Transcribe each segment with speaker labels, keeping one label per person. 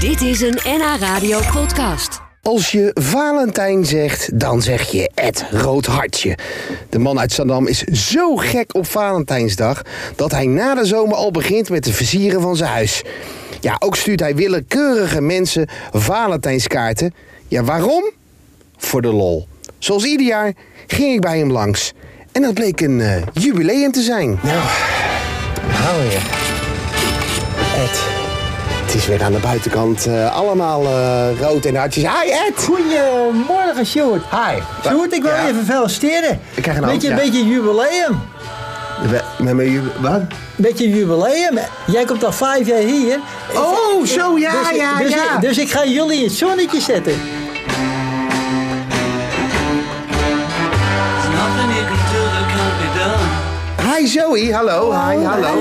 Speaker 1: Dit is een NH Radio podcast.
Speaker 2: Als je Valentijn zegt, dan zeg je Ed Rood Hartje. De man uit Zandam is zo gek op Valentijnsdag dat hij na de zomer al begint met het versieren van zijn huis. Ja, ook stuurt hij willekeurige mensen Valentijnskaarten. Ja, waarom? Voor de lol. Zoals ieder jaar ging ik bij hem langs. En dat bleek een eh, jubileum te zijn.
Speaker 3: Nou, hou je. Ed.
Speaker 2: Het is weer aan de buitenkant eh, allemaal eh, rood en hartjes. Hi Ed!
Speaker 3: Goedemorgen, Sjoerd.
Speaker 2: Hi.
Speaker 3: Sjoerd, ik wil
Speaker 2: Ja.
Speaker 3: je even feliciteren.
Speaker 2: Ik krijg een hand,
Speaker 3: beetje,
Speaker 2: ja.
Speaker 3: beetje jubileum.
Speaker 2: We- Met mijn ju- Wat?
Speaker 3: Beetje jubileum. Jij komt al vijf jaar hier.
Speaker 2: Oh, zo, ja,
Speaker 3: dus,
Speaker 2: ja,
Speaker 3: dus,
Speaker 2: ja.
Speaker 3: Dus ik ga jullie in het zonnetje zetten.
Speaker 4: Nothing you can do that can't be done.
Speaker 2: Hi Zoe, hallo. Hi, Oh, hallo.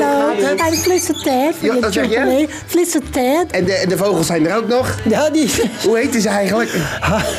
Speaker 5: Hij flitst tijd
Speaker 2: Ja,
Speaker 5: voor je
Speaker 2: dat zeg je?
Speaker 5: chocolee. Flitst tijd.
Speaker 2: En de, en de vogels zijn er ook nog.
Speaker 3: Ja, die...
Speaker 2: Hoe heet ze eigenlijk?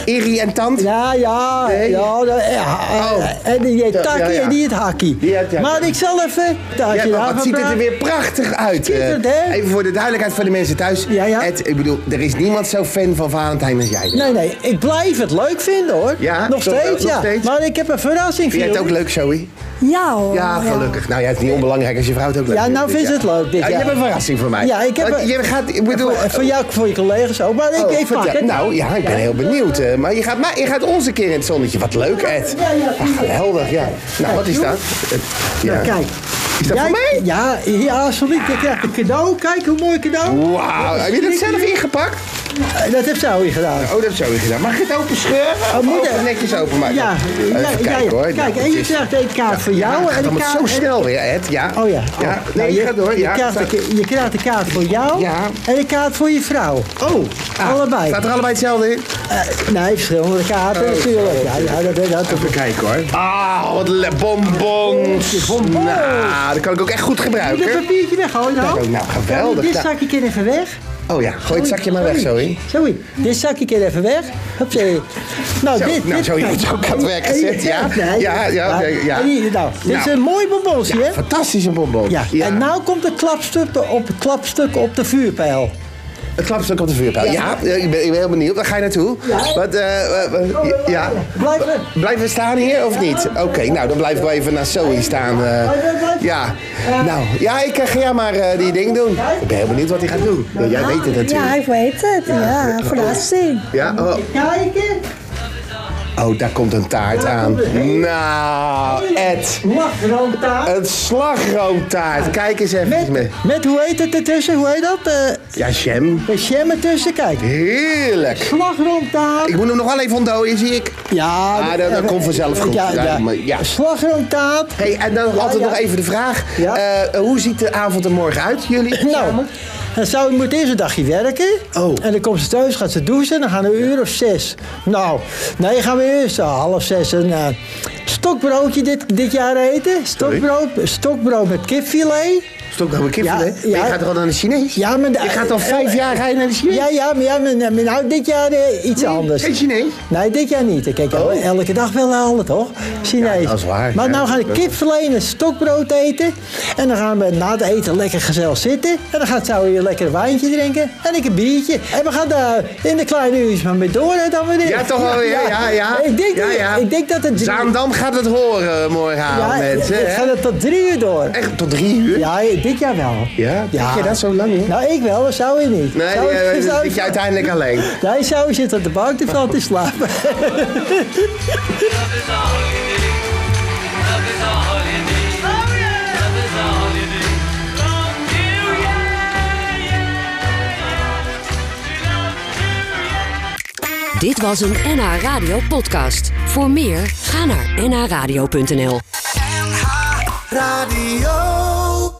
Speaker 2: Iri en Tant?
Speaker 3: Ja, ja,
Speaker 2: Nee.
Speaker 3: ja, ja, ja.
Speaker 2: Oh.
Speaker 3: En die heet
Speaker 2: Ja,
Speaker 3: Taki
Speaker 2: ja.
Speaker 3: en die heet Haki.
Speaker 2: Die heet- ja.
Speaker 3: Maar ik zal even...
Speaker 2: Ja,
Speaker 3: Taki,
Speaker 2: maar wat ziet het er weer prachtig uit. eh.
Speaker 3: Schitterend, hè?
Speaker 2: Even voor de duidelijkheid van de mensen thuis.
Speaker 3: Ja, ja.
Speaker 2: Ed, ik bedoel, er is niemand zo fan van Valentijn als jij.
Speaker 3: Nee, nee, ik blijf het leuk vinden hoor.
Speaker 2: Ja,
Speaker 3: nog
Speaker 2: nog-
Speaker 3: steeds,
Speaker 2: nog
Speaker 3: ja.
Speaker 2: steeds.
Speaker 3: Maar ik heb een verrassing voor
Speaker 2: Vind jij het ook
Speaker 3: jullie.
Speaker 2: leuk, Zoe?
Speaker 5: Ja hoor.
Speaker 2: Ja, gelukkig. Nou ja, het is niet onbelangrijk als je vrouw het ook leuk
Speaker 3: Ja,
Speaker 2: vindt.
Speaker 3: nou
Speaker 2: dus
Speaker 3: vindt het leuk, dit
Speaker 2: Ja, je
Speaker 3: jaar.
Speaker 2: hebt een verrassing voor mij.
Speaker 3: Ja, ik heb
Speaker 2: Want
Speaker 3: een-
Speaker 2: Je gaat, ik bedoel...
Speaker 3: Voor- Voor jou, voor je collega's ook. Maar ik,
Speaker 2: Oh,
Speaker 3: ik pak
Speaker 2: vertel-
Speaker 3: het.
Speaker 2: nou, ja, ik ben heel benieuwd. eh, maar je gaat, maar je gaat ons een keer in het zonnetje. Wat leuk, Ed.
Speaker 3: Ja, ja,
Speaker 2: Ah, geweldig, ja. Nou, wat is dat? Eh, Ja.
Speaker 3: Nou, Kijk.
Speaker 2: Is dat
Speaker 3: Jij-
Speaker 2: voor mij?
Speaker 3: Ja, ja, alsjeblieft. Je krijgt een cadeau. Kijk, hoe mooi cadeau.
Speaker 2: Wauw, heb je dat zelf ingepakt?
Speaker 3: Eh, Dat heeft Zoe gedaan.
Speaker 2: Oh, dat heb je gedaan. Mag ik het open scheuren? Of
Speaker 3: Oh, moet
Speaker 2: open
Speaker 3: het?
Speaker 2: Oh, netjes openmaken?
Speaker 3: Ja,
Speaker 2: Even
Speaker 3: ja,
Speaker 2: kijken
Speaker 3: ja, ja.
Speaker 2: hoor. Nou,
Speaker 3: Kijk, en je krijgt een kaart voor jou.
Speaker 2: Ja,
Speaker 3: en
Speaker 2: het
Speaker 3: een
Speaker 2: gaat
Speaker 3: kaart,
Speaker 2: zo snel weer, Ed. Ja.
Speaker 3: Oh ja. Oh.
Speaker 2: ja.
Speaker 3: Nou,
Speaker 2: Nee, je gaat door.
Speaker 3: je,
Speaker 2: Ja.
Speaker 3: krijgt
Speaker 2: Staat-
Speaker 3: een, je krijgt een kaart voor jou
Speaker 2: Ja.
Speaker 3: en een kaart voor je vrouw.
Speaker 2: Oh, ah,
Speaker 3: Allebei.
Speaker 2: Staat er allebei hetzelfde in?
Speaker 3: Eh, nee, verschillende kaarten
Speaker 2: Oh,
Speaker 3: natuurlijk. Ja, ja, dat, dat, dat.
Speaker 2: Even kijken hoor. Ah, wat le- bonbons.
Speaker 3: Bonbons.
Speaker 2: Nou, dat kan ik ook echt goed
Speaker 3: Doe dat
Speaker 2: gebruiken.
Speaker 3: papiertje weg, hoor.
Speaker 2: Nou,
Speaker 3: Nou,
Speaker 2: nou,
Speaker 3: Nou,
Speaker 2: geweldig.
Speaker 3: Dit
Speaker 2: Nou,
Speaker 3: zakje kan even weg.
Speaker 2: Oh ja, gooi het zakje maar weg, zo in.
Speaker 3: Sorry, dit zakje kan even weg. Hupsé. Nou,
Speaker 2: Zo,
Speaker 3: dit,
Speaker 2: nou,
Speaker 3: dit,
Speaker 2: zo, je wordt ook aan het werk gezet, ja.
Speaker 3: nee,
Speaker 2: Ja, ja, ja, ja.
Speaker 3: En hier, nou, dit
Speaker 2: Nou.
Speaker 3: is een mooi bonbonsje, hè?
Speaker 2: Fantastische bonbon.
Speaker 3: Ja. En nou komt het klapstuk op, het klapstuk op de vuurpijl.
Speaker 2: Het klapstuk op de vuurpijl. Ja, ik, ben, ik ben heel benieuwd. Waar ga je naartoe? Wat, eh, eh, eh, ja.
Speaker 3: Blijf er.
Speaker 2: Blijven we staan hier of niet? Oké, nou dan blijf ik wel even naar Zoe staan. eh. ja, nou, ja, ik eh, ga jij maar eh, die ding doen. Ik ben heel benieuwd wat hij gaat doen. Ja, jij weet het
Speaker 5: Ja,
Speaker 2: natuurlijk.
Speaker 5: ik weet het. Ja, verrassing.
Speaker 2: Ja, oh,
Speaker 3: Kijken.
Speaker 2: oh, daar komt een taart aan. Nou, Ed,
Speaker 3: Slagroomtaart.
Speaker 2: een slagroomtaart. Kijk eens even. mee.
Speaker 3: Met, met, hoe heet het ertussen? Hoe heet dat? Eh
Speaker 2: Ja, jam.
Speaker 3: een jam ertussen, kijk.
Speaker 2: Heerlijk.
Speaker 3: Slagroomtaart.
Speaker 2: Ik moet hem nog wel even ontdooien, zie ik.
Speaker 3: Ja, eh,
Speaker 2: Ah, dat- dat komt vanzelf goed.
Speaker 3: Ja,
Speaker 2: Ja,
Speaker 3: ja.
Speaker 2: maar- ja.
Speaker 3: Slagroomtaart.
Speaker 2: Hey, en dan altijd
Speaker 3: ja.
Speaker 2: nog even de vraag.
Speaker 3: Ja.
Speaker 2: Eh, hoe ziet de avond er morgen uit, jullie?
Speaker 3: Nou, dan zou ik moet eerst een dagje werken.
Speaker 2: Oh.
Speaker 3: En dan komt ze thuis, gaat ze douchen en dan gaan we een uur of zes. Nou, nee, gaan we eerst eh, half zes een eh, stokbroodje dit, dit jaar eten. Stokbrood, stokbrood met kipfilet.
Speaker 2: Stok nog een kipfilet.
Speaker 3: Ja,
Speaker 2: Maar
Speaker 3: ja.
Speaker 2: Je gaat er al naar de Chinees?
Speaker 3: Ja, maar de- Eh,
Speaker 2: je gaat al vijf jaar rijden naar de Chinees?
Speaker 3: Ja, ja, maar, ja, maar, maar nou, dit jaar eh, iets anders.
Speaker 2: Geen Chinees?
Speaker 3: Nee, dit jaar niet. Ik kijk el- elke dag wel halen, toch? Chinees.
Speaker 2: Oh. Ja, dat is waar,
Speaker 3: Maar
Speaker 2: ja.
Speaker 3: nou gaan we kipfilet en een stokbrood eten. En dan gaan we na het eten lekker gezellig zitten. En dan gaat Zoe hier lekker een wijntje drinken. En ik een biertje. En we gaan daar in de kleine uurtjes maar mee door. hè, Dan weer dit.
Speaker 2: Ja, toch wel, ja, ja, ja.
Speaker 3: Ik denk,
Speaker 2: Ja, ja.
Speaker 3: Ik denk dat het... drie-
Speaker 2: Zaandam gaat het horen morgenavond,
Speaker 3: ja,
Speaker 2: mensen.
Speaker 3: ik
Speaker 2: hè?
Speaker 3: ga het tot drie uur door.
Speaker 2: Echt tot drie uur?
Speaker 3: Ja, dit jaar wel.
Speaker 2: Ja? Denk je dat zo lang, hè?
Speaker 3: Nou, ik wel, maar Zoe niet.
Speaker 2: Nee,
Speaker 3: Zoe-
Speaker 2: eh, dan
Speaker 3: Zoe-
Speaker 2: zit je uiteindelijk alleen.
Speaker 3: Nee, Zoe zit op de bank te vallen te slapen.
Speaker 4: Love is all you need. Love is all you need. Love is all you need. Love you, yeah, yeah, yeah.
Speaker 1: Dit was een NH Radio podcast. Voor meer, ga naar nhradio.nl.
Speaker 6: Radio.